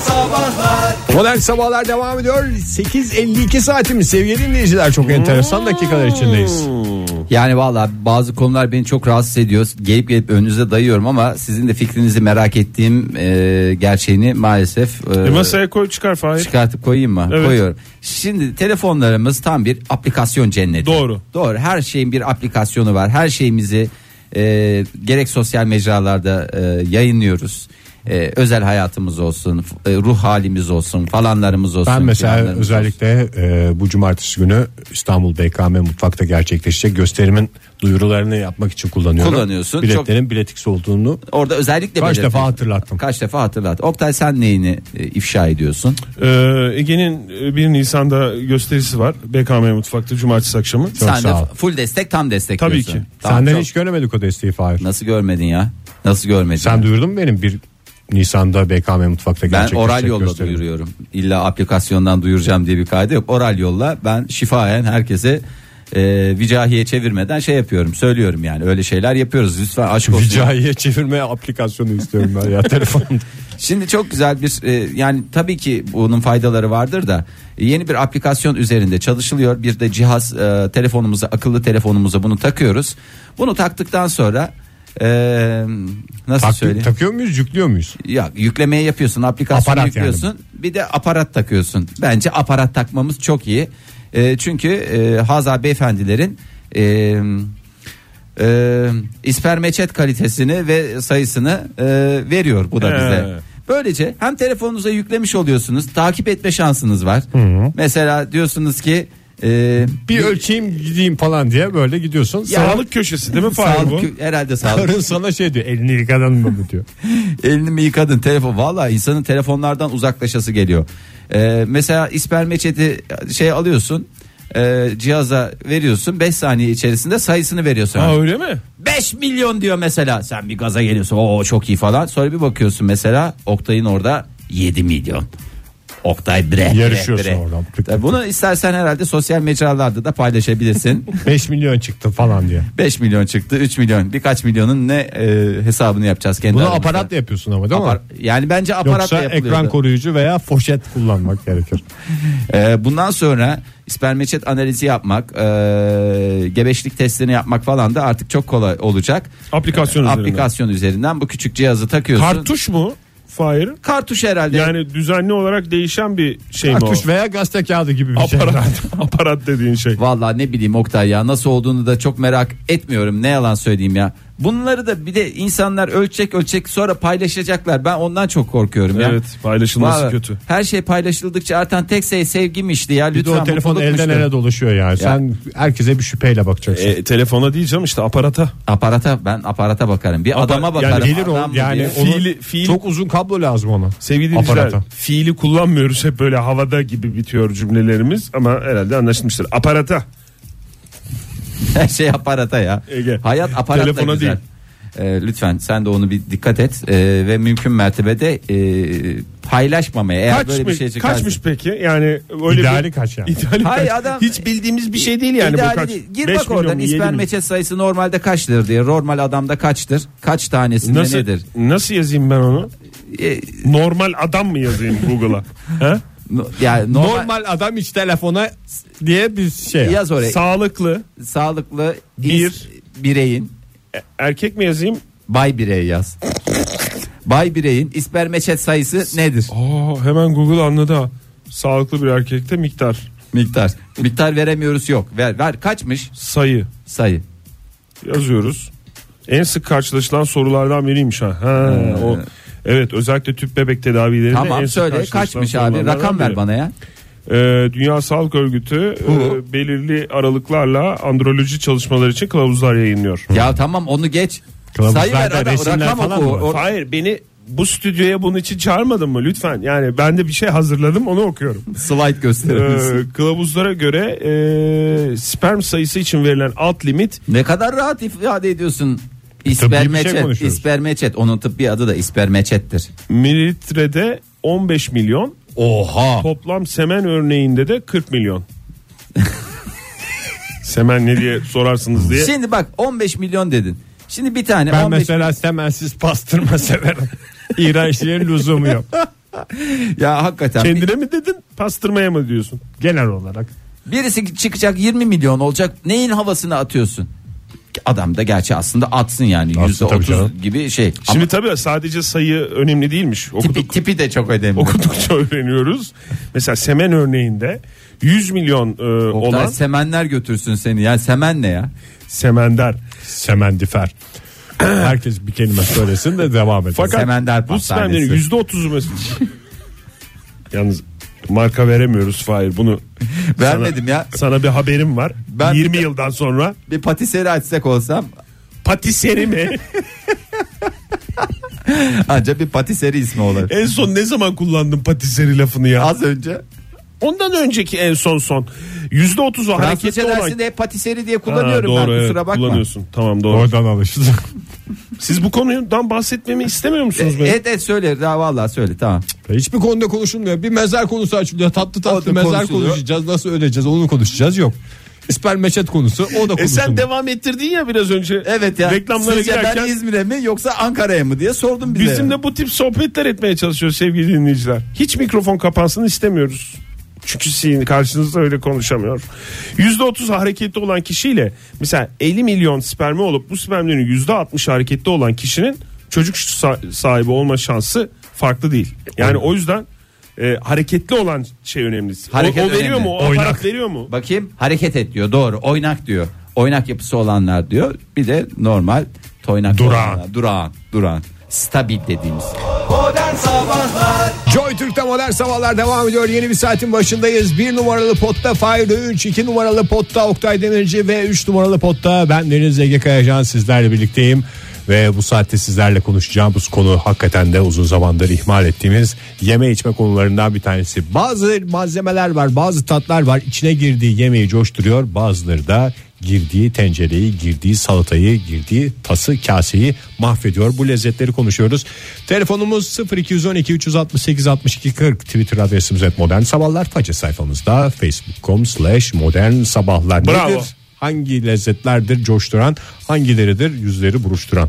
Sabahlar Modern Sabahlar devam ediyor. 8.52 saatimiz sevgili dinleyiciler. Çok enteresan dakikalar içindeyiz. Hmm. Yani valla bazı konular beni çok rahatsız ediyor. Gelip gelip önünüze dayıyorum ama sizin de fikrinizi merak ettiğim e, gerçeğini maalesef e, E, masaya koy çıkar Fahir. çıkartıp koyayım mı? Evet. Koyuyorum. Şimdi telefonlarımız tam bir aplikasyon cenneti. Doğru. Doğru. Her şeyin bir aplikasyonu var. Her şeyimizi e, gerek sosyal mecralarda e, yayınlıyoruz. E, özel hayatımız olsun, f- e, ruh halimiz olsun, falanlarımız olsun. Ben mesela filanlarımız olsun. özellikle e, bu cumartesi günü İstanbul BKM mutfakta gerçekleşecek gösterimin duyurularını yapmak için kullanıyorum. Kullanıyorsun. Biletlerin biletix olduğunu Orada özellikle Kaç belirtiyorsun. defa hatırlattım. Kaç defa hatırlat. Oktay sen neyini e, ifşa ediyorsun? Ee, Ege'nin e, 1 Nisan'da gösterisi var. BKM mutfakta cumartesi akşamı. sen de sağ ol. full destek tam destek Tabii diyorsun. ki. Tamam, Senden çok- hiç göremedik o desteği Fahir. Nasıl görmedin ya? Nasıl görmedin? Sen duyurdun mu benim bir Nisan'da BKM mutfakta ben gerçekleşecek oral yolla gösterimi? duyuruyorum. İlla aplikasyondan duyuracağım diye bir kaydı yok. Oral yolla ben şifayen herkese e, vicahiye çevirmeden şey yapıyorum. Söylüyorum yani öyle şeyler yapıyoruz. Lütfen aşk olsun. Vicahiye çevirme aplikasyonu istiyorum ben ya telefonda. Şimdi çok güzel bir e, yani tabii ki bunun faydaları vardır da e, yeni bir aplikasyon üzerinde çalışılıyor. Bir de cihaz e, telefonumuza akıllı telefonumuza bunu takıyoruz. Bunu taktıktan sonra e, nasıl Tak- söyleyeyim? takıyor muyuz yüklüyor muyuz? ya yüklemeye yapıyorsun, aplikasyonu Aparat yüklüyorsun. Bir de aparat takıyorsun. Bence aparat takmamız çok iyi. E, çünkü e, Hazar beyefendilerin e, e, ispermeçet kalitesini ve sayısını e, veriyor bu da He. bize. Böylece hem telefonunuza yüklemiş oluyorsunuz, takip etme şansınız var. Mesela diyorsunuz ki e, Bir ölçeyim gideyim falan diye böyle gidiyorsun. Ya- Sağlık Sağlık köşesi değil mi Fahir bu? sağlık, herhalde sağlık Karın sana şey diyor elini yıkadın mı diyor. Elini mi yıkadın telefon? Valla insanın telefonlardan uzaklaşası geliyor. Ee, mesela ispermeçeti şey alıyorsun. e, cihaza veriyorsun 5 saniye içerisinde sayısını veriyorsun. Ha öyle mi? 5 milyon diyor mesela. Sen bir gaza geliyorsun. Oo çok iyi falan. Sonra bir bakıyorsun mesela Oktay'ın orada 7 milyon. Oktay bre. bre, Yarışıyorsun bre. oradan. Tık tık Tabii Bunu istersen herhalde sosyal mecralarda da paylaşabilirsin. 5 milyon çıktı falan diye. 5 milyon çıktı, 3 milyon, birkaç milyonun ne e, hesabını yapacağız kendi Bunu aramızda. aparatla yapıyorsun ama değil mi? Apar- yani bence aparatla Yoksa yapılıyor. ekran koruyucu veya foşet kullanmak gerekir. Ee, bundan sonra ispermeçet analizi yapmak, ee, gebeşlik testini yapmak falan da artık çok kolay olacak. Aplikasyon üzerinden. Aplikasyon üzerinden bu küçük cihazı takıyorsun. Kartuş mu Fahir? Kartuş herhalde. Yani düzenli olarak değişen bir şey mi o? Kartuş veya gazete kağıdı gibi bir şey. Aparat, aparat dediğin şey. Vallahi ne bileyim Oktay ya nasıl olduğunu da çok merak etmiyorum. Ne yalan söyleyeyim ya. Bunları da bir de insanlar ölçecek ölçecek sonra paylaşacaklar. Ben ondan çok korkuyorum ya. Evet paylaşılması Vallahi kötü. Her şey paylaşıldıkça artan tek şey sevgimişti ya. Bir de Lütfen o telefon mutlulukmuştu. elden ele dolaşıyor yani. Sen herkese bir şüpheyle bakacaksın. E, telefona diyeceğim işte aparata. Aparata ben aparata bakarım. Bir adama bakarım. yani gelir Adam o mı yani diye. onun Fiili- fiil- çok uzun kablo lazım ona. Sevgili dinleyiciler Aparata. fiili kullanmıyoruz hep böyle havada gibi bitiyor cümlelerimiz ama herhalde anlaşılmıştır. Aparata. Her şey aparata ya. Ege. Hayat aparatla Telefona güzel. değil. Ee, lütfen sen de onu bir dikkat et ee, ve mümkün mertebede ee, paylaşmamaya eğer Kaç böyle mı- bir şey çıkarsa. kaçmış peki? Yani öyle İdeali bir, kaç yani? İdeali Hayır, kaç? adam- Hiç bildiğimiz bir şey değil yani İdeali bu kaç. değil. Gir Beş bak milyon oradan mu, yedi milyon mu? ispermeçet sayısı normalde kaçtır diye. Normal adamda kaçtır? Kaç tanesinde Nasıl, nedir? nasıl yazayım ben onu? Ee, Normal adam mı yazayım Google'a? Ha? no- yani normal, Normal, adam hiç telefona diye bir şey. yaz oraya. Sağlıklı Sağlıklı Bir. ins- bireyin erkek mi yazayım? bay birey yaz. bay bireyin ispermeçet sayısı nedir? Aa, hemen Google anladı ha. Sağlıklı bir erkekte miktar Miktar. Miktar veremiyoruz yok. Ver ver kaçmış sayı sayı. yazıyoruz. En sık karşılaşılan sorulardan biriymiş ha. ha o, evet özellikle tüp bebek tedavilerinde en Hmm. Tamam sık söyle karşılaşılan kaçmış abi sorulardan rakam ver biri. bana ya. Ee, Dünya Sağlık Örgütü e, belirli aralıklarla androloji çalışmaları için kılavuzlar yayınlıyor. Ya tamam onu geç. Kılavuzlarda Sayı ver adam, resimler rakam falan oku. mı var? O- Hayır beni bu stüdyoya bunun için çağırmadın mı lütfen? Yani ben de bir şey hazırladım onu okuyorum. Slide Ee, gösteririz. kılavuzlara göre e, sperm sayısı için verilen alt limit ne kadar rahat ifade ediyorsun. şey İspermeçet, konuşuyoruz. ispermeçet. Onun tıbbi adı da ispermeçettir. mililitrede 15 milyon. Oha. Toplam semen örneğinde de 40 milyon. semen ne diye sorarsınız diye. Şimdi bak 15 milyon dedin. Şimdi bir tane Ben 15 mesela semensiz pastırma severim. İğrençliğin lüzumu yok. ya hakikaten bir- Kendine mi dedin pastırmaya mı diyorsun? Genel olarak. birisi çıkacak 20 milyon olacak neyin havasını atıyorsun? Adam da gerçi aslında atsın yani yüzde Atsın tabii canım. %30 gibi şey. Şimdi tabii sadece sayı önemli değilmiş. Ama tipi, Okuduk, tipi de çok önemli. okudukça öğreniyoruz. Mesela Semen örneğinde 100 milyon e, Oktay, olan semenler götürsün seni ya semen ne ya? Semender. Semendifer. Herkes bir kelime söylesin de devam edelim. Fakat Semender bu pastanesi. semenlerin yüzde otuzu mesela. Yalnız marka veremiyoruz Fahir bunu. Vermedim sana, ya. Sana bir haberim var. Ben- 20 yıldan sonra Bir patiseri açsak olsam patiseri mi? ancak bir patiseri ismi olur. en son ne zaman kullandın patiseri lafını ya? Az önce Ondan önceki en son son. Yüzde otuzu hareketli Fransızca olan. dersinde hep patiseri diye Ha, kullanıyorum doğru, ben evet, kusura bakma. Kullanıyorsun tamam doğru. Oradan alıştı. Siz bu konudan bahsetmemi istemiyor musunuz? benim? Evet evet E, söyle daha vallahi söyle tamam. Hiçbir konuda konuşulmuyor. Bir mezar konusu açılıyor. Tatlı O da tatlı mezar konuşuluyor. konuşacağız. Nasıl öleceğiz onu konuşacağız. Yok. İspermeçet konusu o da E sen konuşulmuyor. devam ettirdin ya biraz önce. Evet ya. Reklamlara sizce girerken ben İzmir'e mi yoksa Ankara'ya mı diye sordum bize. bizim de bu tip sohbetler etmeye çalışıyoruz sevgili dinleyiciler. Hiç mikrofon kapansın istemiyoruz. Çünkü sizin karşınızda öyle konuşamıyor. %30 hareketli olan kişiyle mesela 50 milyon spermi olup bu spermlerin %60 hareketli olan kişinin çocuk sa- sahibi olma şansı farklı değil. Yani o yüzden e, hareketli olan şey önemli. O- Hareket o, veriyor önemli. mu? O Oynak. aparat veriyor mu? Bakayım hareket et diyor doğru oynak diyor. Oynak yapısı olanlar diyor. Bir de normal toynak Durağan. olanlar. Durağan. Durağan. Stabil dediğimiz. Joy Türk'te modern sabahlar devam ediyor. Yeni bir saatin başındayız. Bir numaralı potta Fahir Öğünç, iki numaralı potta Oktay Demirci ve üç numaralı potta ben Deniz Ege Kayacan sizlerle birlikteyim. Ve bu saatte sizlerle konuşacağımız konu hakikaten de uzun zamandır ihmal ettiğimiz yeme içme konularından bir tanesi. Bazı malzemeler var bazı tatlar var içine girdiği yemeği coşturuyor bazıları da girdiği tencereyi, girdiği salatayı, girdiği tası, kaseyi mahvediyor. Bu lezzetleri konuşuyoruz. Telefonumuz 0212 368 62 40 Twitter adresimiz et modern sabahlar. Faça sayfamızda facebook.com slash modern sabahlar. Bravo. Nedir? Hangi lezzetlerdir coşturan, hangileridir yüzleri buruşturan?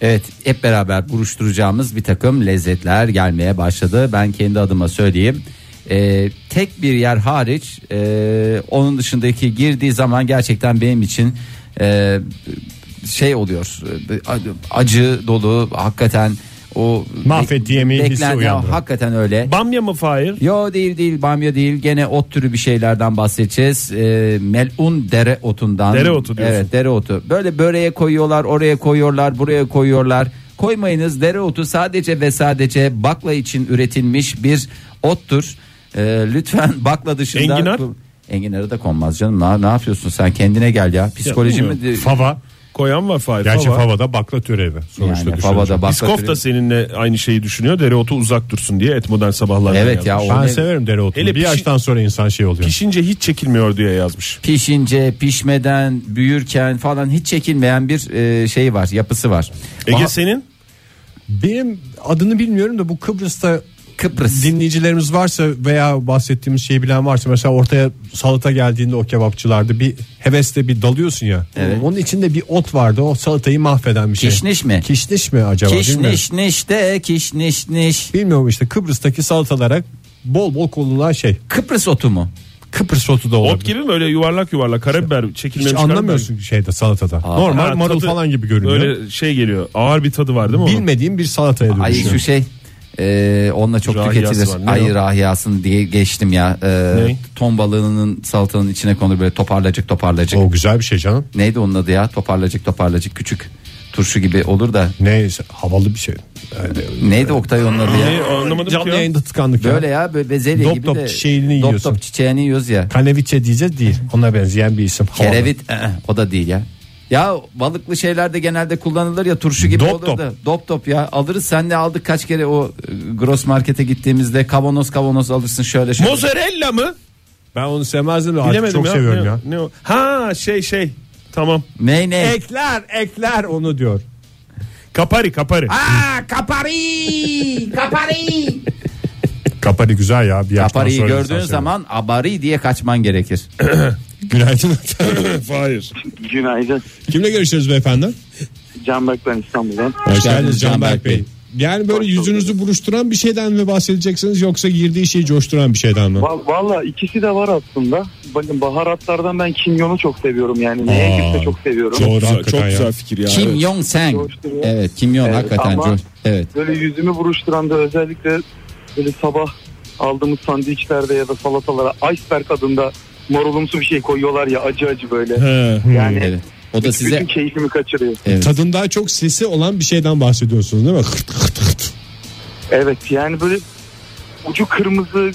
Evet hep beraber buruşturacağımız bir takım lezzetler gelmeye başladı. Ben kendi adıma söyleyeyim. Ee, tek bir yer hariç e, onun dışındaki girdiği zaman gerçekten benim için e, şey oluyor e, acı dolu hakikaten o Mahvettiği yemeği hissi beklenen- uyandırıyor. hakikaten öyle. Bamya mı Fahir? Yo değil değil bamya değil gene ot türü bir şeylerden bahsedeceğiz. Ee, melun dere otundan. Dereotu diyorsun. Evet dereotu. Böyle böreğe koyuyorlar oraya koyuyorlar buraya koyuyorlar. Koymayınız dereotu sadece ve sadece bakla için üretilmiş bir ottur. Ee, lütfen bakla dışında. Enginar? Enginarı da konmaz canım. Ne, ne yapıyorsun sen kendine gel ya. Psikoloji mi? Fava. Koyan var Fahir. Gerçi fava. favada bakla türevi. Sonuçta Yani yani, favada bakla Biskov türü- da seninle aynı şeyi düşünüyor. Dereotu uzak dursun diye et modern sabahlar. Evet ya o Ben ne- severim dereotunu. Hele bir pişi- yaştan sonra insan şey oluyor. Pişince hiç çekilmiyor diye yazmış. pişince pişmeden büyürken falan hiç çekinmeyen bir e, şey var yapısı var. Ege Bah- senin Benim adını bilmiyorum da bu Kıbrıs'ta Kıbrıs. dinleyicilerimiz varsa veya bahsettiğimiz şeyi bilen varsa mesela ortaya salata geldiğinde o kebapçılarda bir hevesle bir dalıyorsun ya. Onun içinde bir ot vardı o salatayı mahveden bir şey. Kişniş mi? Kişniş mi acaba? Bilmiyorum. Kişniş niş de kişniş niş. Bilmiyorum işte Kıbrıs'taki salatalara bol bol konulan şey. Kıbrıs otu mu? Kıbrıs otu da olabilir. ot gibi mi öyle yuvarlak yuvarlak karabiber çekilmemiş Hiç karabiber. anlamıyorsun şeyde salatada. Ha, Normal marul tadı falan gibi görünüyor. Böyle şey geliyor ağır bir tadı var değil mi onun? Bilmediğim bir salataya Ay dönüşüyor. şu şey. E, onunla çok Rahiyası var, tüketilir. ne Ay o? rahiyasını diye geçtim ya. E, Ne? ton balığının salatanın içine konur böyle toparlacık toparlacık. O güzel bir şey canım. Neydi onun adı ya? Toparlacık toparlacık küçük turşu gibi olur da. Neyse havalı bir şey. Yani Neydi Oktay onun adı Ne, ya? anlamadım ki canlı ya. yayında tıkandık ya. Böyle ya böyle bezelye Dop gibi top de. çiçeğini dop yiyorsun. top çiçeğini yiyoruz ya. Kaneviçe diyeceğiz değil. Ona benzeyen bir isim. Havalı. Kerevit ı-ı, o da değil ya. Ya balıklı şeyler de genelde kullanılır ya turşu gibi Dop olur top. da. Dop top ya alırız sen de aldık kaç kere o e, gross markete gittiğimizde kavanoz kavanoz alırsın şöyle şöyle. Mozzarella mı? Ben onu sevmezdim de artık Bilemedim çok ya. seviyorum ne, ya. ne o? ha şey şey tamam. Ne ne? Ekler ekler onu diyor. Kapari kapari. Aa kapari kapari. Kapari güzel ya. Bir yaştan Kapariyi sonra gördüğün insan seviyor. zaman abari diye kaçman gerekir. Günaydın. Hayır. Günaydın. Kimle görüşüyoruz beyefendi? Canberk ben İstanbul'dan. Hoş geldiniz Canberk Bey. Yani böyle Hoş yüzünüzü buruşturan bir şeyden mi bahsedeceksiniz yoksa girdiği şeyi coşturan bir şeyden mi? Val- Valla ikisi de var aslında. Bakın baharatlardan ben kimyonu çok seviyorum yani. Neye Aa, girse çok seviyorum. Doğru, Çok güzel, hakikaten çok ya. güzel fikir ya. Kim Evet. Yong Sang. Coşturuyor. Evet Kim Yong Evet, hakikaten. ama- coş- Evet. Böyle yüzümü buruşturan da özellikle böyle sabah aldığımız sandviçlerde ya da salatalara iceberg adında marulumsu bir şey koyuyorlar ya acı acı böyle. He. Yani Hmm, Evet. O da bütün size keyfimi kaçırıyor. Evet. Tadında çok sesi olan bir şeyden bahsediyorsunuz değil mi? Hırt hırt hırt. Evet yani böyle ucu kırmızı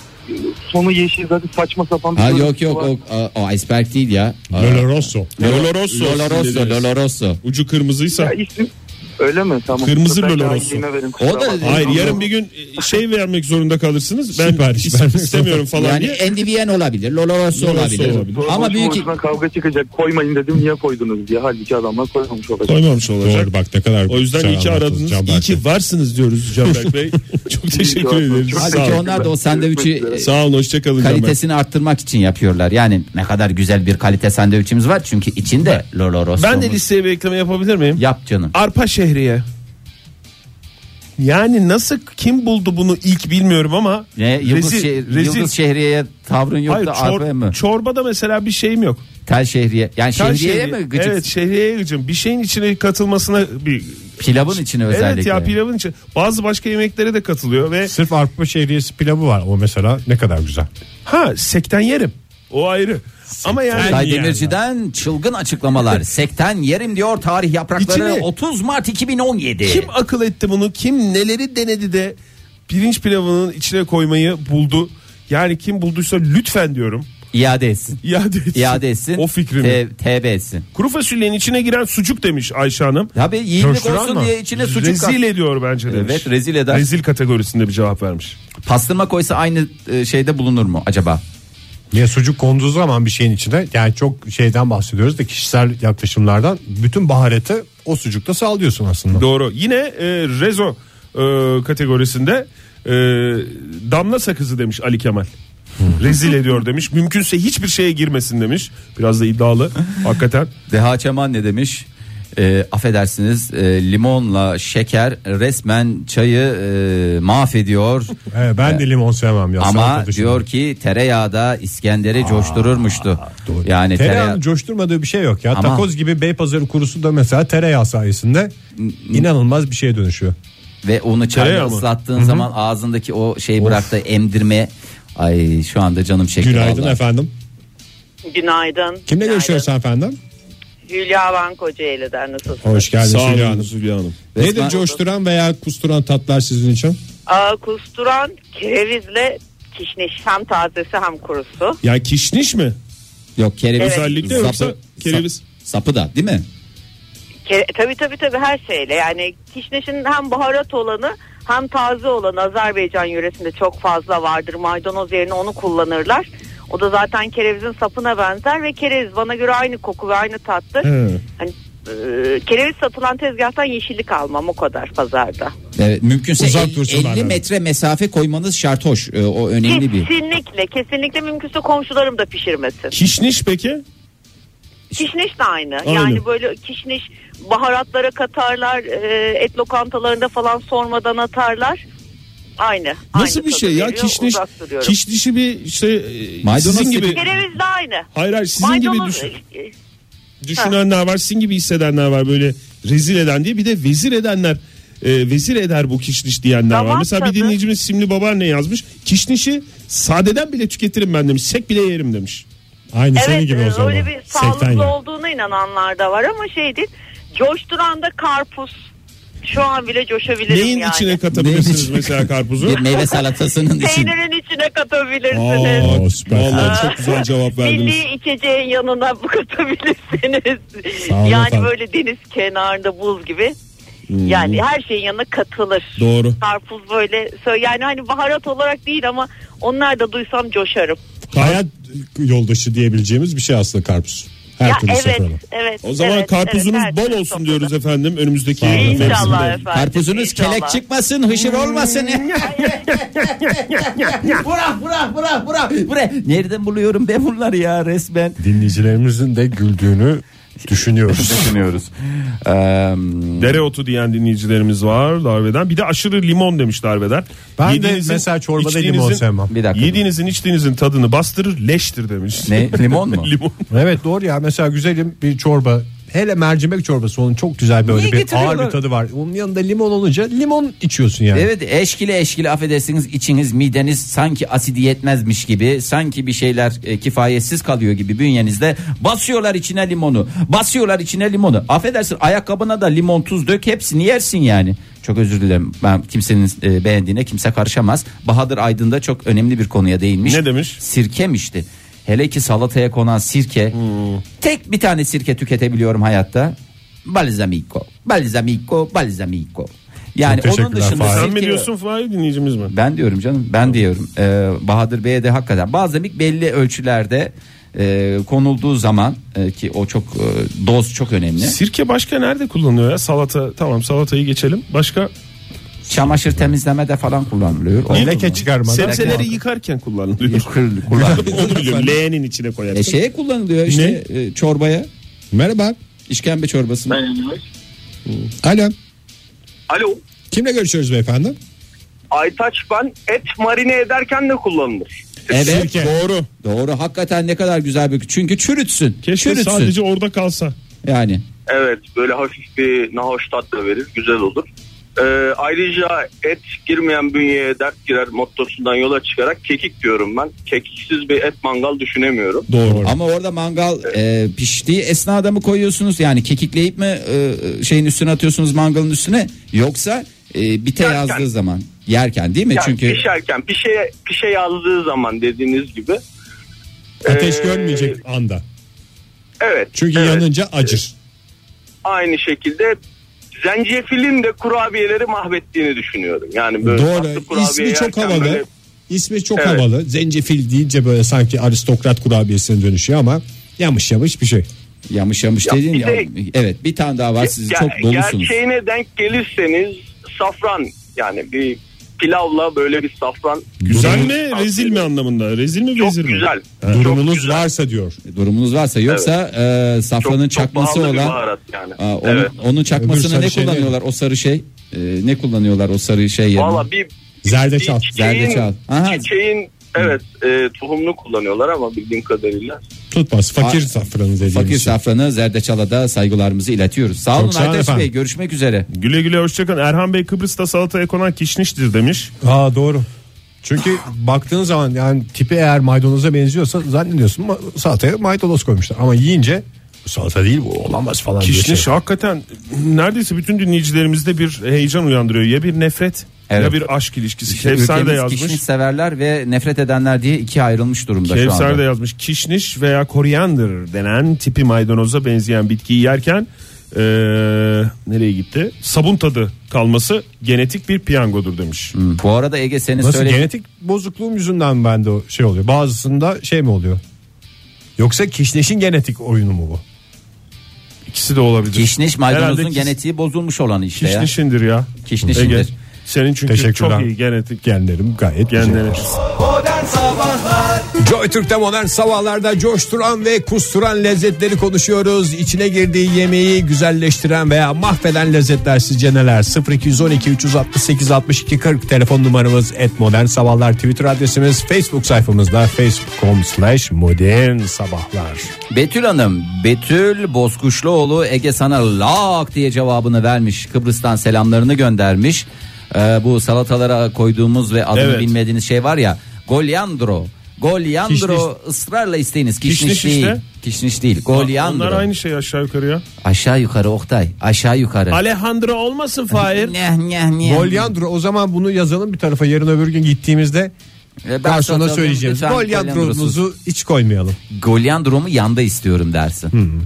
sonu yeşil zaten saçma sapan bir Ha görüntüsü yok yok var. o, o, o iceberg değil ya. Aa, Lolo Rosso. Lolo Rosso. Lolo Rosso, dediniz. Lolo Rosso. Ucu kırmızıysa. Ya isim öyle mi? Tamam. Kırmızı Ben Lolo daha Rosso. yine verin, kusura O da bakmayın. Hayır yarın bir gün şey vermek zorunda kalırsınız. Ben Sipariş isim vermek istemiyorum falan Yani diye. endivyen olabilir, Lolo Rosso Lolo Rosso olabilir. olabilir. Sonra Ama boşu büyük boşuna kavga çıkacak koymayın dedim niye koydunuz diye. Halbuki adamlar koymamış olacak. Koymamış olacak. Doğru bak ne kadar O yüzden güzel iyi ki anlattınız aradınız. Canberk iyi ki varsınız diyoruz Canberk Bey. Çok teşekkür ederiz. Çok Sağ Halbuki olun. onlar da o sandviçi e, Sağ olun hoşçakalın Canberk. kalitesini arttırmak için yapıyorlar. Yani ne kadar güzel bir kalite sandviçimiz var çünkü içinde Lolo Rosso. Ben de listeye bir ekleme yapabilir miyim? Yap canım. Arpa şehriye. Yani nasıl kim buldu bunu ilk bilmiyorum ama Ne, Yıldız, rezil- şehir, rezil- Yıldız Şehriye'ye tavrın yok Hayır, da çor- Arpa'ya mı? çorbada mesela bir şeyim yok. Tel Şehriye. Yani Tel Şehriye'ye şehri- mi gıcık? Evet şehriyeye gıcım. Bir şeyin içine katılmasına bir Pilavın içine Evet özellikle. ya pilavın içi. Bazı başka yemeklere de katılıyor ve Sırf arpa şehriyesi pilavı var o mesela ne kadar güzel. ha sekten yerim. O ayrı. Ama yani Tay Demirci'den çılgın açıklamalar. Sekten yerim diyor tarih yaprakları İçini- 30 Mart 2017. kim akıl etti bunu? Kim neleri denedi de pirinç pilavının içine koymayı buldu? Yani kim bulduysa lütfen diyorum. İade etsin. İade etsin. İade etsin. Ee, O fikrini. Te- TB etsin. Kuru fasulyenin içine giren sucuk demiş Ayşe Hanım. Tabii yiğitlik Coşturan olsun mı? diye içine sucuk Rezil kat- ediyor bence demiş. Evet rezil eder. Rezil kategorisinde bir cevap vermiş. Pastırma koysa aynı e, şeyde bulunur mu acaba? Ya sucuk konduğu zaman bir şeyin içine yani çok şeyden bahsediyoruz da kişisel yaklaşımlardan bütün baharatı o sucukta sağlıyorsun aslında. Doğru. Yine e, rezo e, kategorisinde e, damla sakızı demiş Ali Kemal. Hmm. Rezil ediyor demiş. Mümkünse hiçbir şeye girmesin demiş. Biraz da iddialı hakikaten. Deha Çeman ne demiş? E, affedersiniz e, limonla şeker resmen çayı e, mahvediyor. He, ben de limon sevmem ya. E, Ama salata dışında. diyor ki tereyağı da İskender'i coştururmuştu. Doğru. Yani tereyağının tereyağı coşturmadığı bir şey yok ya. Ama- Takoz gibi Beypazarı kurusu da mesela tereyağı sayesinde inanılmaz bir şeye dönüşüyor. ve onu çayla Tereyağı mı? ıslattığın zaman ağzındaki o şeyi bıraktı emdirme. Ay şu anda canım çekti Günaydın vallahi. efendim. Günaydın. Kimle Günaydın. görüşüyoruz efendim? Hülya Van Kocaeli'den nasılsınız? Hoş geldiniz Sağ Hülya olun Hanım. Zülya Hanım. Resmen- Nedir coşturan veya kusturan tatlar sizin için? Aa, kusturan kerevizle kişniş hem tazesi hem kurusu. Ya kişniş mi? Yok kereviz. Evet. Özellikle Sapı- yoksa kereviz. sap- sapı da değil mi? Ke- tabii tabii tabii her şeyle yani kişnişin hem baharat olanı hem taze olanı Azerbaycan yöresinde çok fazla vardır. Maydanoz yerine onu kullanırlar. O da zaten kerevizin sapına benzer ve kereviz bana göre aynı koku ve aynı tatlı. Hmm. Hani, e, kereviz satılan tezgahtan yeşillik almam o kadar pazarda. Evet, mümkünse Uzak el- dursunlar 50 yani. metre mesafe koymanız şart hoş. Ee, o önemli bir. Kesinlikle kesinlikle mümkünse komşularım da pişirmesin. Kişniş peki? Kişniş de aynı. Aynı. Yani böyle kişniş baharatlara katarlar, e, et lokantalarında falan sormadan atarlar. Aynı. Nasıl aynı bir tadı şey ya veriyor, kişniş? uzak duruyorum. Kişnişi bir işte e, Maydanoz sizin gibi seçim- Kereviz de aynı. hayır hayır sizin gibi Maydanoz düşün, e, düşünenler var, sizin gibi hissedenler var böyle rezil eden diye bir de vezir edenler e, vezir eder bu kişniş diyenler var. Tamam Mesela tabii. bir dinleyicimiz Simli Babaanne yazmış. Kişnişi sadeden bile tüketirim ben demiş. Sek bile yerim demiş. Aynı senin evet gibi o e, zaman. öyle bir Sekten sağlıklı yer. olduğuna inananlar da var ama şey değil. Coşturan da karpuz. Şu an bile coşabilirim Neyin yani. içine katabilirsiniz Neyin içine- mesela karpuzu? Bir meyve salatasının için. Peynirin içine katabilirsiniz. Aa, süper. Vallahi çok güzel cevap verdiniz. Milli içeceğin yanına bu katabilirsiniz. olun yani efendim. böyle deniz kenarında buz gibi. Yani her şeyin yanına katılır. Hmm. Doğru. Karpuz böyle sö- yani hani baharat olarak değil ama onlar da duysam coşarım. Hayat yoldaşı diyebileceğimiz bir şey aslında karpuz. Her ya türlü evet, sofrada. evet. O zaman evet, karpuzunuz evet, her bol türlü olsun sofrada. diyoruz efendim önümüzdeki Sağ olun. mevsimde. İnşallah efendim. Karpuzunuz inşallah. kelek çıkmasın, hışır olmasın. Burak, Burak, Burak, Burak. Nereden buluyorum ben bunları ya resmen? Dinleyicilerimizin de güldüğünü Düşünüyoruz. düşünüyoruz. Eee, Dereotu diyen dinleyicilerimiz var darbeden. Bir de aşırı limon demiş darbeden. Ben Yediğinizin, de mesela çorbada içtiğinizin- limon sevmem. bir dakika. Yediğinizin içtiğinizin tadını bastırır leştir demiş. Ne limon mu? limon. Evet doğru ya mesela güzelim bir çorba. Hele mercimek çorbası onun çok güzel böyle Niye bir ağır getiriyorlar? bir tadı var. Onun yanında limon olunca limon içiyorsun yani. Evet eşkile eşkile affedersiniz içiniz mideniz sanki asidi yetmezmiş gibi sanki bir şeyler e, kifayetsiz kalıyor gibi bünyenizde basıyorlar içine limonu basıyorlar içine limonu affedersin ayakkabına da limon tuz dök hepsini yersin yani. Çok özür dilerim ben kimsenin e, beğendiğine kimse karışamaz. Bahadır Aydın da çok önemli bir konuya değinmiş. Ne demiş? Sirkemişti. Hele ki salataya konan sirke. Hmm. Tek bir tane sirke tüketebiliyorum hayatta. Balsamico, balsamico, balsamico. Yani onun teşekkürler dışında Fahir. Sen mi sirke- diyorsun Fahir dinleyicimiz mi? Ben diyorum canım. Ben diyorum. Ee, Bahadır Bey'e de hakikaten bazen bir belli ölçülerde e, konulduğu zaman e, ki o çok e, doz çok önemli. Sirke başka nerede kullanılıyor ya? Salata tamam salatayı geçelim. Başka Çamaşır temizlemede falan kullanılıyor. O- Leke çıkarmadan. sebzeleri yıkarken kullanılıyor. Kul- kullanılıyor. Onu biliyorum. Leğenin içine E, koyarsın. şeye kullanılıyor işte e, çorbaya. Merhaba. İşkembe çorbası. Alo. Alo. Kimle görüşüyoruz beyefendi? Aytaç ben et marine ederken de kullanılır. Evet. Doğru. Doğru. Hakikaten ne kadar güzel bir çünkü çürütsün. Keşke çürütsün. sadece orada kalsa. yani. Evet böyle hafif bir nahoş tat da verir güzel olur. Ee, ayrıca et girmeyen bünyeye dert girer mottosundan yola çıkarak kekik diyorum ben. Kekiksiz bir et mangal düşünemiyorum. Doğru. Ama orada mangal e, piştiği esnada mı koyuyorsunuz? Yani kekikleyip mi e, şeyin üstüne atıyorsunuz mangalın üstüne? Yoksa e, bite Yerken. yazdığı zaman yerken E, değil mi? Yani Çünkü pişerken pişe, pişe şey yazdığı zaman dediğiniz gibi. Ateş Ee, görmeyecek anda. Evet. Çünkü evet. yanınca acır. Aynı şekilde zencefilin de kurabiyeleri mahvettiğini düşünüyorum. Yani böyle tatlı Doğru. kurabiye İsmi çok yerken havalı. böyle- İsmi çok Evet. havalı. Zencefil deyince böyle sanki aristokrat kurabiyesine dönüşüyor ama yamış yamış bir şey. yamış yamış Ya dedin bir ya. de- Evet bir tane daha var siz Ger- çok dolusunuz. Gerçeğine denk gelirseniz safran yani bir pilavla böyle bir safran Güzel Durum- mi rezil mi anlamında? Rezil mi Çok vezir mi? güzel. Durumunuz varsa diyor. Durumunuz varsa yoksa e, Çok, safranın çok çakması pahalı bir olan baharat yani. Aa, onun, evet. onun çakmasını sarı ne şey kullanıyorlar o sarı şey? E, ne kullanıyorlar o sarı şey yerine? Valla bir Zerdeçal. bir çiçeğin- Zerdeçal. Aha. Çiçeğin evet e, tohumunu kullanıyorlar ama bildiğim kadarıyla. Tutmaz. Fakir Fa- safranı dediğimiz Fakir şey. safranı Zerdeçal'a da saygılarımızı iletiyoruz. Sağ olun sağ olun Aytaç efendim. Bey görüşmek üzere. Güle güle hoşçakalın. Erhan Bey Kıbrıs'ta salataya konan kişniştir demiş. Aa doğru. Çünkü baktığın zaman yani tipi eğer maydanoza benziyorsa zannediyorsun ma- salataya maydanoz koymuşlar. Ama yiyince bu salata değil bu olamaz falan diye Kişniş şey. hakikaten neredeyse bütün dinleyicilerimizde bir heyecan uyandırıyor. Ya bir nefret Evet. ya bir aşk ilişkisi. Kevser de Ülkemiz yazmış. kişniş severler ve nefret edenler diye ikiye ayrılmış durumda şu Kevser anda. de yazmış. Kişniş veya koriander denen tipi maydanoza benzeyen bitkiyi yerken eee, nereye gitti? Sabun tadı kalması genetik bir piyangodur demiş. Hı, Hmm. Bu arada Ege senin Nasıl söylediğin genetik bozukluğum yüzünden bende o şey oluyor. Bazısında şey mi oluyor? Yoksa kişneşin genetik oyunu mu bu? İkisi de olabilir. kişniş maydanozun Herhalde kiş- genetiği bozulmuş olan işte ya. Kişnişindir ya. Kişnişindir. Ege, senin çünkü Teşekkürler. çok iyi genetik Genlerim gayet güzel. genleri. Joy Türk'te modern sabahlarda coşturan ve kusturan lezzetleri konuşuyoruz. İçine girdiği yemeği güzelleştiren veya mahveden lezzetler sizce neler? 0212 368 62 40 telefon numaramız et modern sabahlar Twitter adresimiz Facebook sayfamızda facebook.com slash modern sabahlar. Betül Hanım, Betül Bozkuşluoğlu Ege sana lak diye cevabını vermiş. Kıbrıs'tan selamlarını göndermiş. Ee, bu salatalara koyduğumuz ve adını Evet. bilmediğiniz şey var ya. Golyandro. Golyandro Kişniş. ısrarla isteyiniz. Kişniş, Kişniş değil. işte. Kişniş değil. Golyandro. Onlar aynı şey aşağı yukarı ya. Aşağı yukarı Oktay. Aşağı yukarı. Alejandro olmasın Fahir. Neh, neh, neh. Golyandro o zaman bunu yazalım bir tarafa yarın öbür gün gittiğimizde Ee, ben garsona satalım, söyleyeceğiz. lütfen Golyandrosuz. Golyandro'muzu hiç koymayalım. Golyandro'mu yanda istiyorum dersin.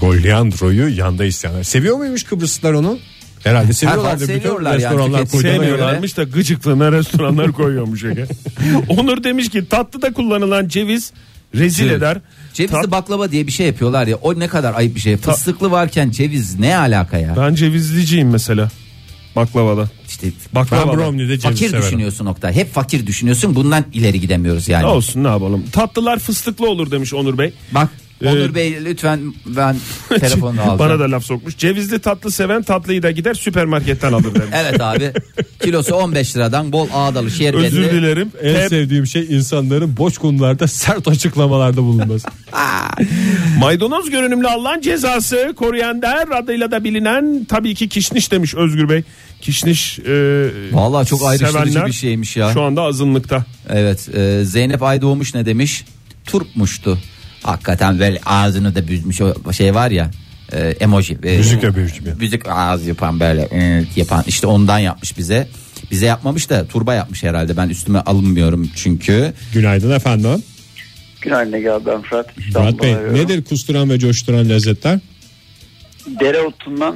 Golyandro'yu yanda isteyenler. Seviyor muymuş Kıbrıslılar onu? Herhalde seviyorlardır. seviyorlar Bütün yani. restoranlar Tüketim koyduğuna göre. Sevmiyorlarmış da gıcıklığına restoranlar koyuyormuş Ege. Onur demiş ki tatlıda kullanılan ceviz rezil Evet. eder. Cevizli Tat- baklava diye bir şey yapıyorlar ya. O ne kadar ayıp bir şey. Fıstıklı varken ceviz ne alaka ya? ben cevizliciyim mesela baklavada. İşte Ben Baklavada. Bromley'de ceviz fakir severim. düşünüyorsun Oktay. Hep fakir düşünüyorsun. Bundan ileri gidemiyoruz yani. Ne olsun ne yapalım. Tatlılar fıstıklı olur demiş Onur Bey. Bak Onur Bey lütfen ben telefonunu alacağım. Bana da laf sokmuş. Cevizli tatlı seven tatlıyı da gider süpermarketten alır demiş. Evet abi kilosu 15 liradan bol ağdalı şehir Özür belli. dilerim. En Hep sevdiğim şey insanların boş konularda sert açıklamalarda bulunması. Maydanoz görünümlü Allah'ın cezası koriander adıyla da bilinen tabii ki kişniş demiş Özgür Bey. Kişniş e, Vallahi çok ayrıştırıcı sevenler bir şeymiş ya. Şu anda azınlıkta. Evet e, Zeynep Aydoğmuş ne demiş? Turpmuştu. Hakikaten böyle ağzını da büzmüş o şey var ya e, emoji. E, Müzik yapıyor gibi. Müzik ağız yapan böyle e, yapan işte ondan yapmış bize. Bize yapmamış da turba yapmış herhalde ben üstüme alınmıyorum çünkü. Günaydın efendim. Günaydın Ege abi ben Fırat. Murat Bey arıyorum. nedir kusturan ve coşturan lezzetler? Dereotundan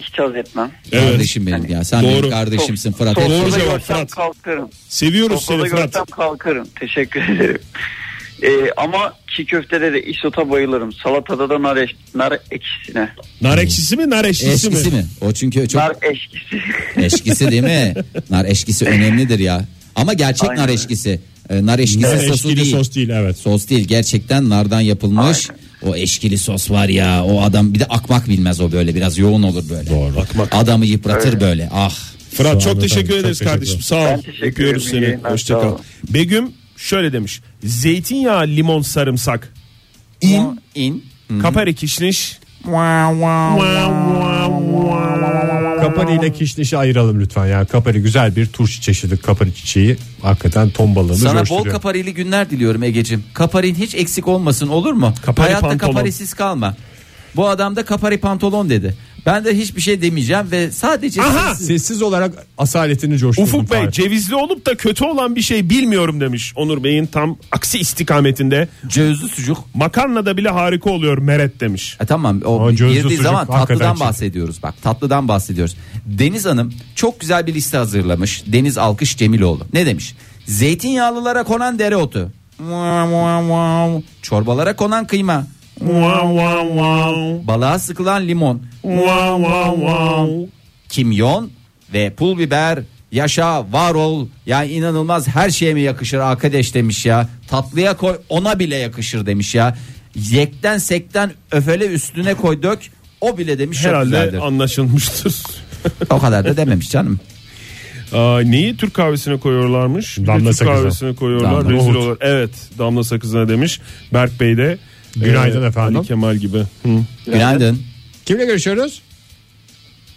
hiç haz etmem. Evet. Kardeşim benim ya sen Doğru. benim kardeşimsin Fırat. Sofrada Doğru cevap, görsem Fırat. kalkarım. seviyoruz Sofrada seni Fırat. görsem kalkarım. Teşekkür ederim. Ee, ama çiğ köftede de isota bayılırım. Salatada da nar, eş, nar ekşisine. Nar ekşisi mi nar eşkisi mi? Eşkisi mi? O çünkü çok Nar eşkisi. Eşkisi değil mi? Nar eşkisi önemlidir ya. Ama gerçek Aynen. nar eşkisi. Ee, Nar eşkisi Nar sosu eşkili değil. sos değil evet. Sos değil gerçekten nardan yapılmış. O eşkili sos var ya o adam bir de akmak bilmez o böyle biraz yoğun olur böyle. Doğru. Akmak. Adamı yıpratır böyle ah. Fırat Sağ olun çok teşekkür efendim, ederiz çok kardeşim. Sağ ol. Ben teşekkür Öpüyoruz ederim, iyi seni. yayınlar, Hoşça sağ kal. olun. Begüm şöyle demiş. Zeytinyağı, limon, sarımsak. İn. in. Kapari kişniş. Kapari ile kişnişi ayıralım lütfen. Yani kapari güzel bir turşu çeşidi. Kapari çiçeği hakikaten ton balığını Sana bol coşturuyor. kaparili günler diliyorum Egeciğim. Kaparin hiç eksik olmasın olur mu? Kapari Hayatta pantolon. kaparisiz kalma. Bu adam da kapari pantolon dedi. Ben de hiçbir şey demeyeceğim ve sadece Aha! siz- Sessiz olarak asaletini coşturdum. Ufuk Bey Fahir. cevizli olup da kötü olan bir şey bilmiyorum demiş. Onur Bey'in tam aksi istikametinde. cevizli sucuk Makarna da bile harika oluyor Meret demiş. E tamam o Ama cevizli girdiği sucuk zaman hakikaten tatlıdan çekiyor. bahsediyoruz bak tatlıdan bahsediyoruz. Deniz Hanım çok güzel bir liste hazırlamış. Deniz Alkış Cemiloğlu. Ne demiş? Zeytinyağlılara konan dereotu. Muam, muam, muam. Çorbalara konan kıyma. Wow, wow, wow. Balığa sıkılan limon. Wow, wow, wow. Kimyon ve pul biber. Yaşa var ol. Yani inanılmaz her şeye mi yakışır arkadaş demiş ya. Tatlıya koy ona bile yakışır demiş ya. Yekten sekten öfele üstüne koy dök. O bile demiş çok Herhalde güzeldir. anlaşılmıştır. O kadar da dememiş canım. Aa, neyi Türk kahvesine koyuyorlarmış? Bir de Damla Türk sakızı. kahvesine koyuyorlar. Damla. Rezil Nohut. olur. Evet, damla sakızına demiş. Berk Bey de e, Günaydın efendim. Ali Kemal gibi. Hı. Günaydın. Kimle görüşüyoruz?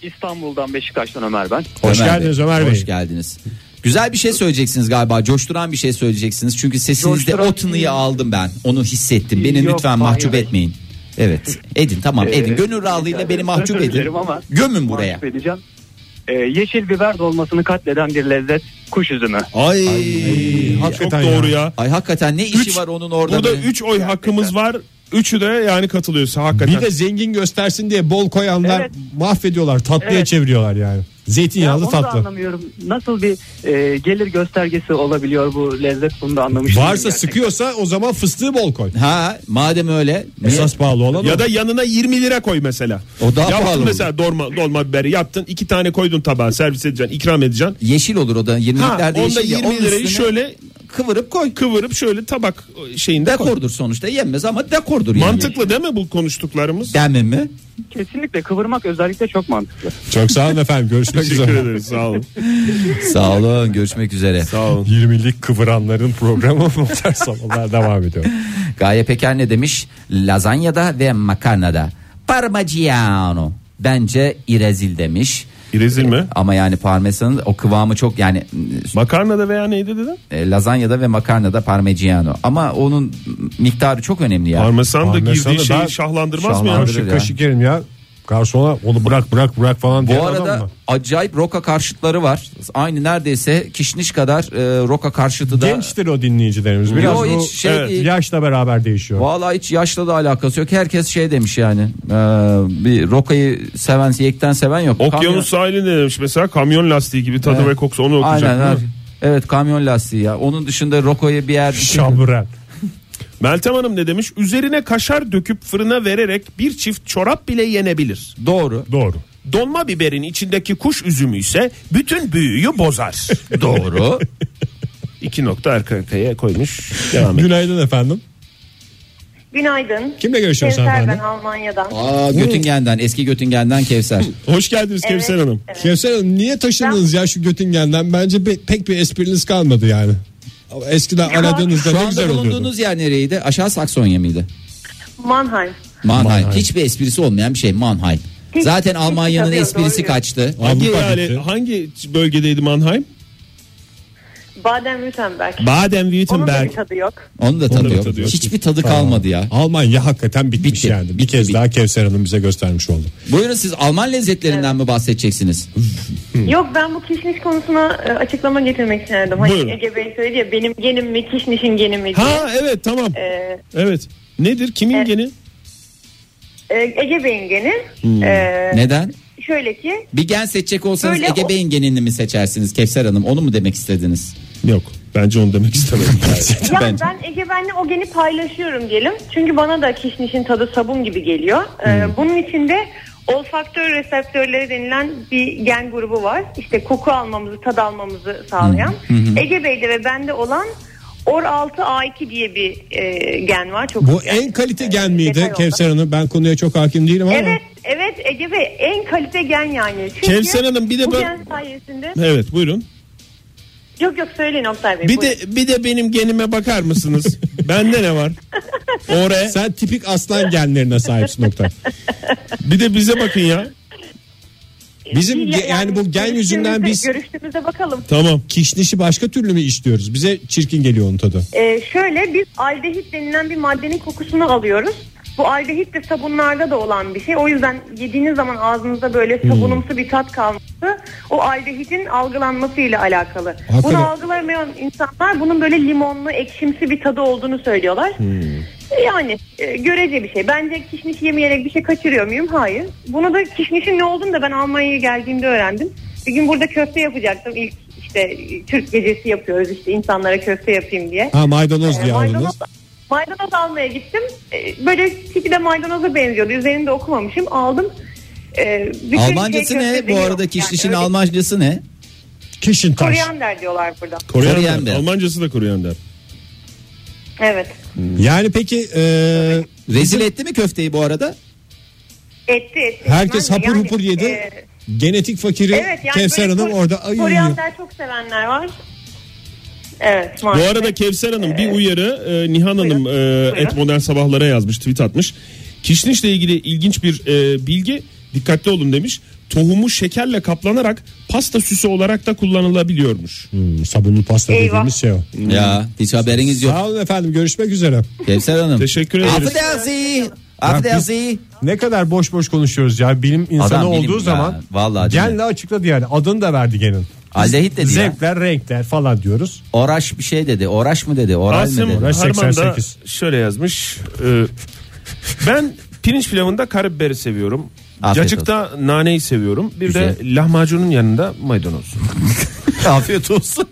İstanbul'dan Beşiktaş'tan Ömer ben. Hoş geldiniz Ömer Bey. Hoş geldiniz. Güzel bir şey söyleyeceksiniz galiba. Coşturan bir şey söyleyeceksiniz. Çünkü sesinizde Coşturan- o tınıyı aldım ben. Onu hissettim. Beni Yok, lütfen hayır. mahcup etmeyin. Evet. Edin tamam Ee, edin. Gönül rahatlığıyla yani beni mahcup özür edin. dilerim ama- Gömün buraya. Mahcup edeceğim. Ee, yeşil biber dolmasını katleden bir lezzet kuş üzümü. Ay, çok hakikaten doğru ya. ya. Ay hakikaten ne işi Üç- var onun orada? Burada be? 3 oy hakkımız var. Üçü de yani katılıyorsa hakikaten. Bir de zengin göstersin diye bol koyanlar Evet. mahvediyorlar. Tatlıya Evet. çeviriyorlar yani. Zeytinyağlı onu da tatlı. anlamıyorum. Nasıl bir e, gelir göstergesi olabiliyor bu lezzet bunu da anlamış değilim Varsa gerçekten. sıkıyorsa o zaman fıstığı bol koy. Ha madem öyle. niye- Esas pahalı olan Ya o. da yanına 20 lira koy mesela. O daha Yaptın pahalı mesela dolma, dolma biberi yaptın. iki tane koydun tabağa servis edeceksin ikram edeceksin. Yeşil olur o da. Ha, 20'liklerde onda yeşil. ya, 20 onun lirayı üstüne şöyle kıvırıp koy. kıvırıp şöyle tabak şeyinde koy. Dekordur sonuçta yenmez ama dekordur yani. Mantıklı değil mi bu konuştuklarımız? Deme mi? Kesinlikle kıvırmak özellikle çok mantıklı. Çok sağ olun efendim. Görüşmek Teşekkür üzere. ederiz sağ olun. Sağ olun görüşmek üzere. Sağ olun. 20'lik kıvıranların programı Modern Sabahlar devam ediyor. Gaye Peker ne demiş? Lazanyada ve makarnada. Parmigiano. Bence irezil demiş. İrezil mi? Ama yani parmesanın o kıvamı çok yani Makarnada veya neydi dedin? e, lazanyada ve makarnada parmigiano. Ama onun miktarı çok önemli ya. Parmesan da Parmesan girdiği da ben- şeyi şahlandırmaz mı ya? Şahlandırır. Kaşık ya. kaşık yerim ya. Garsona onu bırak bırak bırak falan diye Bu adam arada mı? acayip roka karşıtları var. Aynı neredeyse kişniş kadar e, roka karşıtı da. Gençtir o dinleyicilerimiz. Biraz Yo, bu hiç şey evet, değil. yaşla beraber değişiyor. Vallahi hiç yaşla da alakası yok. Herkes şey demiş yani. e, bir rokayı seven, yekten seven yok. Kamyon- Okyanus sahilinde demiş mesela kamyon lastiği gibi tadı Evet. ve kokusu onu okuyacak. Aynen. değil abi. mi? Evet kamyon lastiği ya. Onun dışında rokoyu bir yer Şamburen. Meltem Hanım ne demiş? Üzerine kaşar döküp fırına vererek bir çift çorap bile yenebilir. Doğru. Doğru. Dolma biberin içindeki kuş üzümü ise bütün büyüyü bozar. Doğru. İki nokta arka arkaya koymuş. Devam et. Günaydın efendim. Günaydın. Kimle görüşüyoruz Kevser hanımefendi? ben Almanya'dan. Aa, Göttingen'den eski Göttingen'den Kevser. Hoş geldiniz Evet, Kevser Hanım. evet. Kevser Hanım niye taşındınız ya şu Göttingen'den? Bence pe- pek bir espriniz kalmadı yani. Ama Eskiden aradığınızda Şu ne anda güzel oluyordu. bulunduğunuz yer nereydi? Aşağı Saksonya mıydı? Mannheim. Mannheim. Hiçbir esprisi olmayan bir şey Mannheim. Hiç- Zaten hiç Almanya'nın tabii, esprisi doğru. kaçtı. Hangi, Avrupa yani- gitti. hangi bölgedeydi Mannheim? Baden-Württemberg. Onun da Baden-Württemberg. bir tadı yok. Onun da tadı, da bir yok. tadı yok. Hiçbir tadı kalmadı ya. Almanya hakikaten bitmiş Bitti, yani. Bir bitti, kez bitti. daha Kevser Hanım bize göstermiş oldu. Buyurun siz Alman lezzetlerinden mi bahsedeceksiniz? Yok ben bu kişniş konusuna e, açıklama getirmek isterdim. Hani Buyurun. Ege Bey söyledi ya benim genim mi kişnişin geni mi diye. Ha evet tamam. E, Evet. Nedir? Kimin Evet. geni? e, Ege Bey'in geni. e, Neden? Şöyle ki Bir gen seçecek olsanız Böyle Ege o- Bey'in genini mi seçersiniz Kevser Hanım? Onu mu demek istediniz? Yok. Bence onu demek istemedim. yani Bence. ben Ege benle o geni paylaşıyorum diyelim. Çünkü bana da kişnişin tadı sabun gibi geliyor. E, bunun içinde olfaktör reseptörleri denilen bir gen grubu var. İşte koku almamızı, tad almamızı sağlayan. Ege Bey'de ve bende olan OR6A2 diye bir e, gen var. Çok Bu güzel. en kalite gen E, detay miydi oldu. Kevser Hanım? Ben konuya çok hakim değilim ama. Evet, evet Ege Bey en kalite gen yani. Çünkü Kevser Hanım, bir de bu ben- gen sayesinde evet buyurun. yok yok söyleyin Oktay Bey. Bir buyurun. de bir de benim genime bakar mısınız? Bende ne var? Oraya. Sen tipik aslan genlerine sahipsin nokta. Bir de bize bakın ya. Bizim Bir- ge- yani bu gen yüzünden biz- görüştüğümüzde- görüştüğümüzde bakalım. Tamam. Kişnişi başka türlü mü işliyoruz? Bize çirkin geliyor onun tadı. Ee, şöyle biz aldehit denilen bir maddenin kokusunu alıyoruz. Bu aldehit de sabunlarda da olan bir şey. O yüzden yediğiniz zaman ağzınızda böyle sabunumsu bir tat kalması o aldehitin algılanmasıyla alakalı. Hakikaten. Bunu algılamayan insanlar bunun böyle limonlu, ekşimsi bir tadı olduğunu söylüyorlar. Yani e, görece bir şey. Bence kişniş yemeyerek bir şey kaçırıyor muyum? Hayır. Bunu da kişnişin ne olduğunu da ben Almanya'ya geldiğimde öğrendim. Bir gün burada köfte yapacaktım. İlk işte e, Türk gecesi yapıyoruz işte insanlara köfte yapayım diye. Ha maydanoz diye Ee, aldınız. maydanoz, maydanoz almaya gittim. Ee, Böyle tipi de maydanoza benziyordu. Üzerinde okumamışım. Aldım. Ee, bütün Almancası şey köfte ne? Bu değil arada yani. kişnişin Öyle Almancası ne? Kişin taş. Koryander diyorlar burada. Koryander. Koryander. Almancası da Koryander. Evet. Yani peki e, Rezil etti mi köfteyi bu arada? Etti etti. herkes Yani, hapur hupur yedi. e, Genetik fakiri Evet yani Kevser böyle Hanım kor- orada ay Koryander çok sevenler var. Evet Bu maalesef. arada Kevser Hanım bir uyarı e, Nihan Ee, Buyurun. Hanım e, Buyurun. et modern sabahlara yazmış tweet atmış. Kişnişle ilgili ilginç bir e, bilgi dikkatli olun demiş. Tohumu şekerle kaplanarak pasta süsü olarak da kullanılabiliyormuş. Hmm, sabunlu pasta Eyvah. dediğimiz şey o. Ya hiç haberiniz yok. Sağ olun efendim görüşmek üzere. Kevser Hanım. Teşekkür ederiz. Affedersin. Affedersin. Ne kadar boş boş konuşuyoruz ya bilim insanı Adam bilim olduğu ya, zaman vallahi değil mi? genle açıkladı yani adını da verdi genin. Aldehit dedi ya. Zevkler renkler falan diyoruz. Oraş bir şey dedi. Oraş mı dedi? Oral mı Asım dedi? Uğraş Harman da 88. şöyle yazmış. e, ben pirinç pilavında karabiberi seviyorum. Afiyet Cacıkta naneyi seviyorum. Bir Güzel. de lahmacunun yanında maydanoz. Afiyet olsun.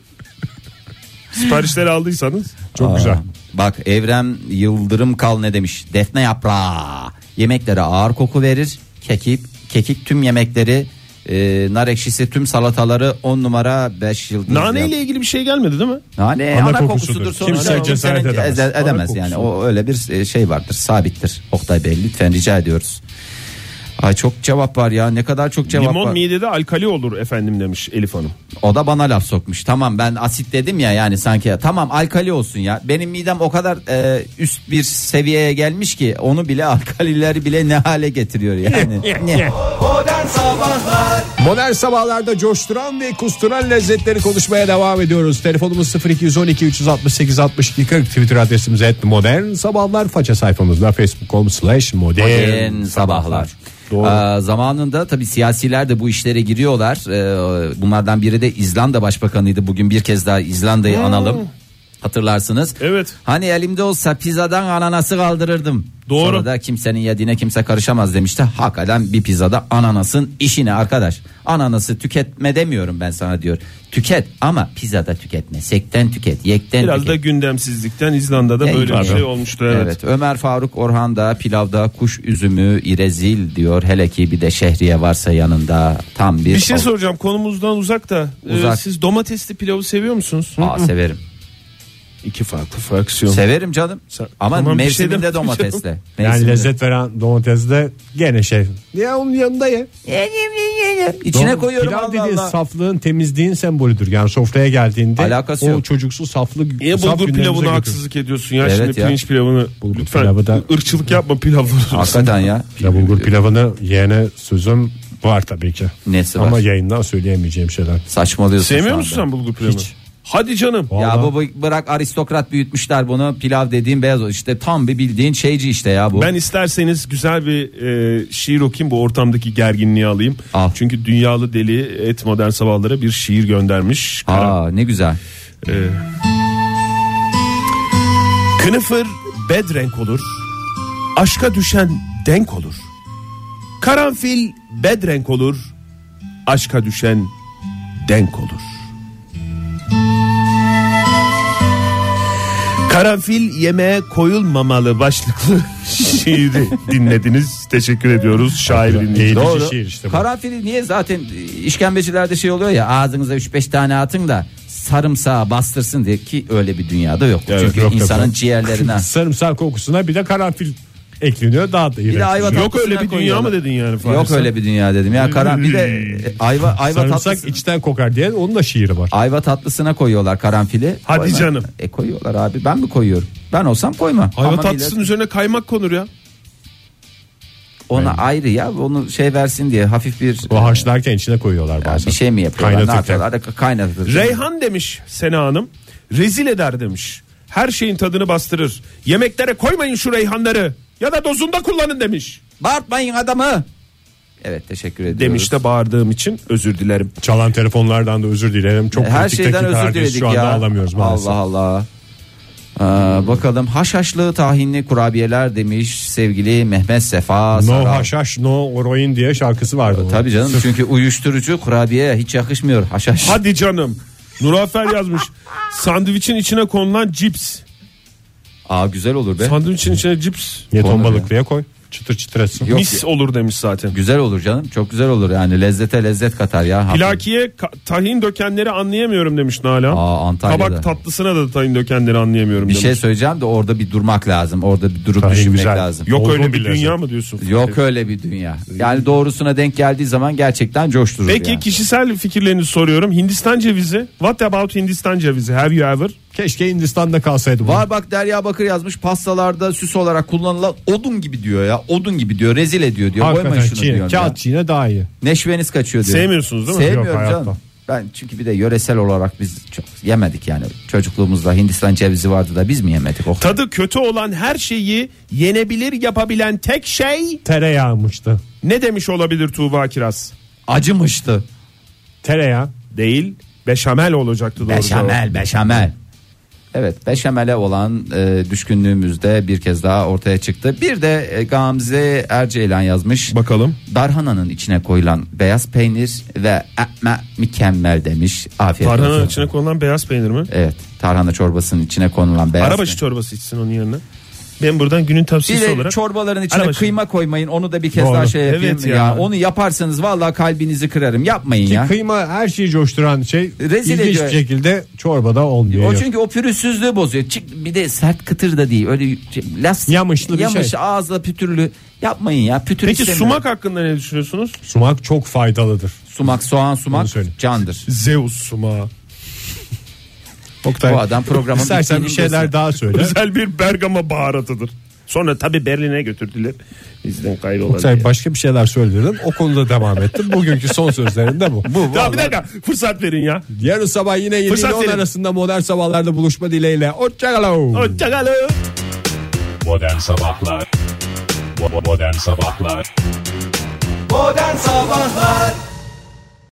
Siparişleri aldıysanız Çok güzel. Bak Evrem Yıldırım Kal ne demiş? Defne yaprağı. Yemeklere ağır koku verir. Kekik, kekik tüm yemekleri, e, nar ekşisi tüm salataları 10 numara 5 yıldız. Nane yap- ile ilgili bir şey gelmedi değil mi? Nane ana, Ana kokusudur. kokusudur. Sonuçta Kimse kimsenin cesaret edemez. eze- Ana edemez yani. O öyle bir e, şey vardır. Sabittir. Oktay Bey lütfen rica ediyoruz. Ay çok cevap var ya. Ne kadar çok cevap limon var. midede alkali olur efendim demiş Elif Hanım. O da bana laf sokmuş. Tamam ben asit dedim ya yani sanki tamam alkali olsun ya. Benim midem o kadar e, üst bir seviyeye gelmiş ki onu bile alkaliler bile ne hale getiriyor yani. Ne? Modern sabahlarda coşturan ve kusturan lezzetleri konuşmaya devam ediyoruz. Telefonumuz 0212 368 62 40 Twitter adresimiz et modern sabahlar faça sayfamızda facebook.com slash modern Modern sabahlar. Doğru. Aa, zamanında tabi siyasiler de bu işlere giriyorlar. Ee, bunlardan biri de İzlanda Başbakanıydı. Bugün bir kez daha İzlanda'yı analım. Hatırlarsınız. Evet. Hani elimde olsa pizzadan ananası kaldırırdım. Doğru. Sonra da kimsenin yediğine kimse karışamaz demişti. Hakikaten bir pizzada ananasın işine arkadaş. Ananası tüketme demiyorum ben sana diyor. Tüket ama pizzada tüketme. Sekten tüket, yekten Biraz tüket. da gündemsizlikten İzlanda'da Ya, böyle bir pardon. şey olmuştu. Evet. Ömer Faruk Orhan da pilavda kuş üzümü irezil diyor. Hele ki bir de şehriye varsa yanında tam bir Bir şey Al- soracağım konumuzdan uzak da. e, Uzak. siz domatesli pilavı seviyor musunuz? Aa, severim. İki farklı fraksiyon. Severim canım. Sen- Ama Tamam, bir şey mevsiminde demedim canım. domatesle. Yani Mevsiminde. lezzet veren domates de gene şey. Ya onun yanında ye. İçine Doğru. koyuyorum Pilav Allah dediğin Allah. saflığın temizliğin sembolüdür. Yani sofraya geldiğinde Alakası o yok. çocuksu saflık Niye bulgur saf günlerimize pilavına götür. haksızlık ediyorsun ya? Evet Şimdi ya. pirinç pilavını Bulgur lütfen pilavı da- ırkçılık yapma pilavları. Hakikaten ya. Ya bulgur pilavını yeğene sözüm var tabii ki. Nesi Ama var? yayından söyleyemeyeceğim şeyler. Saçmalıyorsun şu Sevmiyor anda. musun sen bulgur pilavını? Hiç. Hadi canım. Vallahi. Ya bu bu- bırak aristokrat büyütmüşler bunu. Pilav dediğin beyaz işte tam bir bildiğin şeyci işte ya bu. Ben isterseniz güzel bir e, şiir okuyayım bu ortamdaki gerginliği alayım. Al. Çünkü dünyalı deli et modern sabahlara bir şiir göndermiş. Kara- Aa ne güzel. E, Kınıfır bed renk olur. Aşka düşen denk olur. Karanfil bed renk olur. Aşka düşen denk olur. Karanfil yemeğe koyulmamalı başlıklı şiiri dinlediniz. Teşekkür ediyoruz şair dinleyicilerimize. Eğitici Doğru. şiir işte bu. Karanfili niye zaten işkembecilerde şey oluyor ya ağzınıza 3-5 tane atın da sarımsağı bastırsın diye ki öyle bir dünyada yok. Evet, Çünkü yok, yok, insanın yok. ciğerlerinden. Sarımsak kokusuna bir de karanfil ekleniyor daha da iğrenç. Bir de ayva Yok tatlısına öyle bir dünya koyuyorlar. mı dedin yani? Fahir Yok sen? öyle bir dünya dedim ya. Karan bir de e, ayva ayva Sarımsak tatlısı. içten kokar diye onun da şiiri var. Ayva tatlısına koyuyorlar karanfili. Hadi Koyma. canım. E koyuyorlar abi. Ben mi koyuyorum? Ben olsam koyma. Ayva Ama tatlısının millet üzerine kaymak konur ya. ona ayrı ya. Onu şey versin diye hafif bir O haşlarken içine koyuyorlar Ya bazen. bir şey mi yapıyorlar? Ne Kaynatırken. yapıyorlar? Hadi Kaynatır. Reyhan demiş Sena Hanım. Rezil eder demiş. Her şeyin tadını bastırır. Yemeklere koymayın şu reyhanları. Ya da dozunda kullanın demiş. Bağırtmayın adamı. Evet teşekkür ediyoruz. Demiş de bağırdığım için özür dilerim. E, Çalan telefonlardan da özür dilerim. Çok E, Her kritik şeyden dakikalar özür diye diledik Şu anda ya. alamıyoruz maalesef. Allah Allah. Ee, bakalım haşhaşlı tahinli kurabiyeler demiş sevgili Mehmet Sefa No Saral. haşhaş no oroin diye şarkısı vardı. bunun. Tabii canım Sırf çünkü uyuşturucu kurabiye hiç yakışmıyor haşhaş. şey- Hadi canım. Nurafer yazmış. Sandviçin içine konulan cips. Aa güzel olur be. Sandviçin içine cips. Niye ton Konuda balıklıya koy? Çıtır çıtır etsin. Yok Mis olur demiş zaten. Güzel olur canım. Çok güzel olur yani lezzete lezzet katar ya. Plakiye ka- tahin dökenleri anlayamıyorum demiş Aa, Nalan. Antalya'da. Kabak tatlısına da tahin dökenleri anlayamıyorum bir demiş. şey söyleyeceğim de orada bir durmak lazım. Orada bir durup Tahin düşünmek güzel. lazım. Yok Olgun öyle bir bile dünya zaten. mı diyorsun? Yok öyle bir dünya. Yani doğrusuna denk geldiği zaman gerçekten coşturur. Peki yani. kişisel fikirlerinizi soruyorum. Hindistan cevizi. What about Hindistan cevizi? Have you ever? Keşke Hindistan'da kalsaydı. bu. Var bak Derya Bakır yazmış pastalarda süs olarak kullanılan odun gibi diyor ya. Odun gibi diyor. Rezil ediyor diyor. Hakikaten Koymayın şunu çiğne, diyor. kağıt çiğne daha iyi. Neşveniz kaçıyor diyor. Sevmiyorsunuz değil mi? Yok, Sevmiyorum hayatta. canım. Ben çünkü bir de yöresel olarak biz çok yemedik yani. Çocukluğumuzda Hindistan cevizi vardı da biz mi yemedik? Oh. Tadı kötü olan her şeyi yenebilir yapabilen tek şey Tereyağmıştı. ne demiş olabilir Tuğba Kiraz? Acımıştı. Tereyağı. Değil beşamel olacaktı doğru cevap. Beşamel, beşamel. Evet, beşamele olan e, düşkünlüğümüz de bir kez daha ortaya çıktı. Bir de e, Gamze Erceylan yazmış. Bakalım. Darhananın içine koyulan beyaz peynir ve ekme mükemmel demiş. Afiyet Tarhananın olsun. içine konulan beyaz peynir mi? Evet, tarhana çorbasının içine konulan beyaz Arabaşı peynir. çorbası içsin onun yerine. Ben buradan günün Bir tavsiyesi de olarak çorbaların içine Arabaşı. kıyma koymayın. Onu da bir kez Doğru. daha şey yapayım. Evet ya. ya. Onu yaparsanız vallahi kalbinizi kırarım. Yapmayın ya. Kıyma her şeyi coşturan şey Rezil ilginç ediyor. bir şekilde çorbada olmuyor. O çünkü o pürüzsüzlüğü bozuyor. Çık bir de sert kıtır da değil. Öyle şey, las Yamışlı bir yamış, şey. ağızla pütürlü. Yapmayın ya. Pütür Peki istemiyorum. sumak hakkında ne düşünüyorsunuz? Sumak çok faydalıdır. sumak, soğan sumak Onu söyle. candır. Zeus sumağı. Oktay, Bu adam programın İstersen bir bittiğini şeyler bilsin. daha söyle. Özel bir Bergama baharatıdır. Sonra tabi Berlin'e götürdüler. Bizden kaydolar. Oktay diye. başka bir şeyler söyledin. O konuda devam ettim. Bugünkü son sözlerim de bu. bu Ya bir dakika fırsat verin ya. Yarın sabah yine 7 ile Fırsat 10 verin. arasında modern sabahlarda buluşma dileğiyle. Hoşçakalın. Hoşçakalın. Modern Sabahlar Bo- Modern Sabahlar Modern Sabahlar